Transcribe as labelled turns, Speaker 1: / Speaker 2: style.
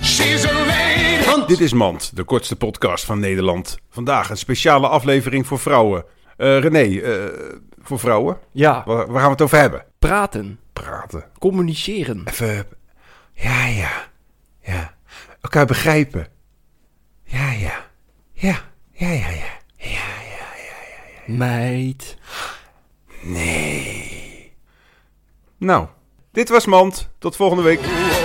Speaker 1: she's a lady.
Speaker 2: Want dit is Mand, de kortste podcast van Nederland. Vandaag een speciale aflevering voor vrouwen. Eh, René, eh, voor vrouwen,
Speaker 3: Ja,
Speaker 2: waar, waar gaan we het over hebben?
Speaker 3: praten,
Speaker 2: Praten.
Speaker 3: communiceren.
Speaker 2: Even, ja, ja, ja. Elkaar begrijpen. Ja, ja, ja, ja, ja, ja.
Speaker 3: Meid.
Speaker 2: Nou, dit was Mand. Tot volgende week.
Speaker 1: Oh,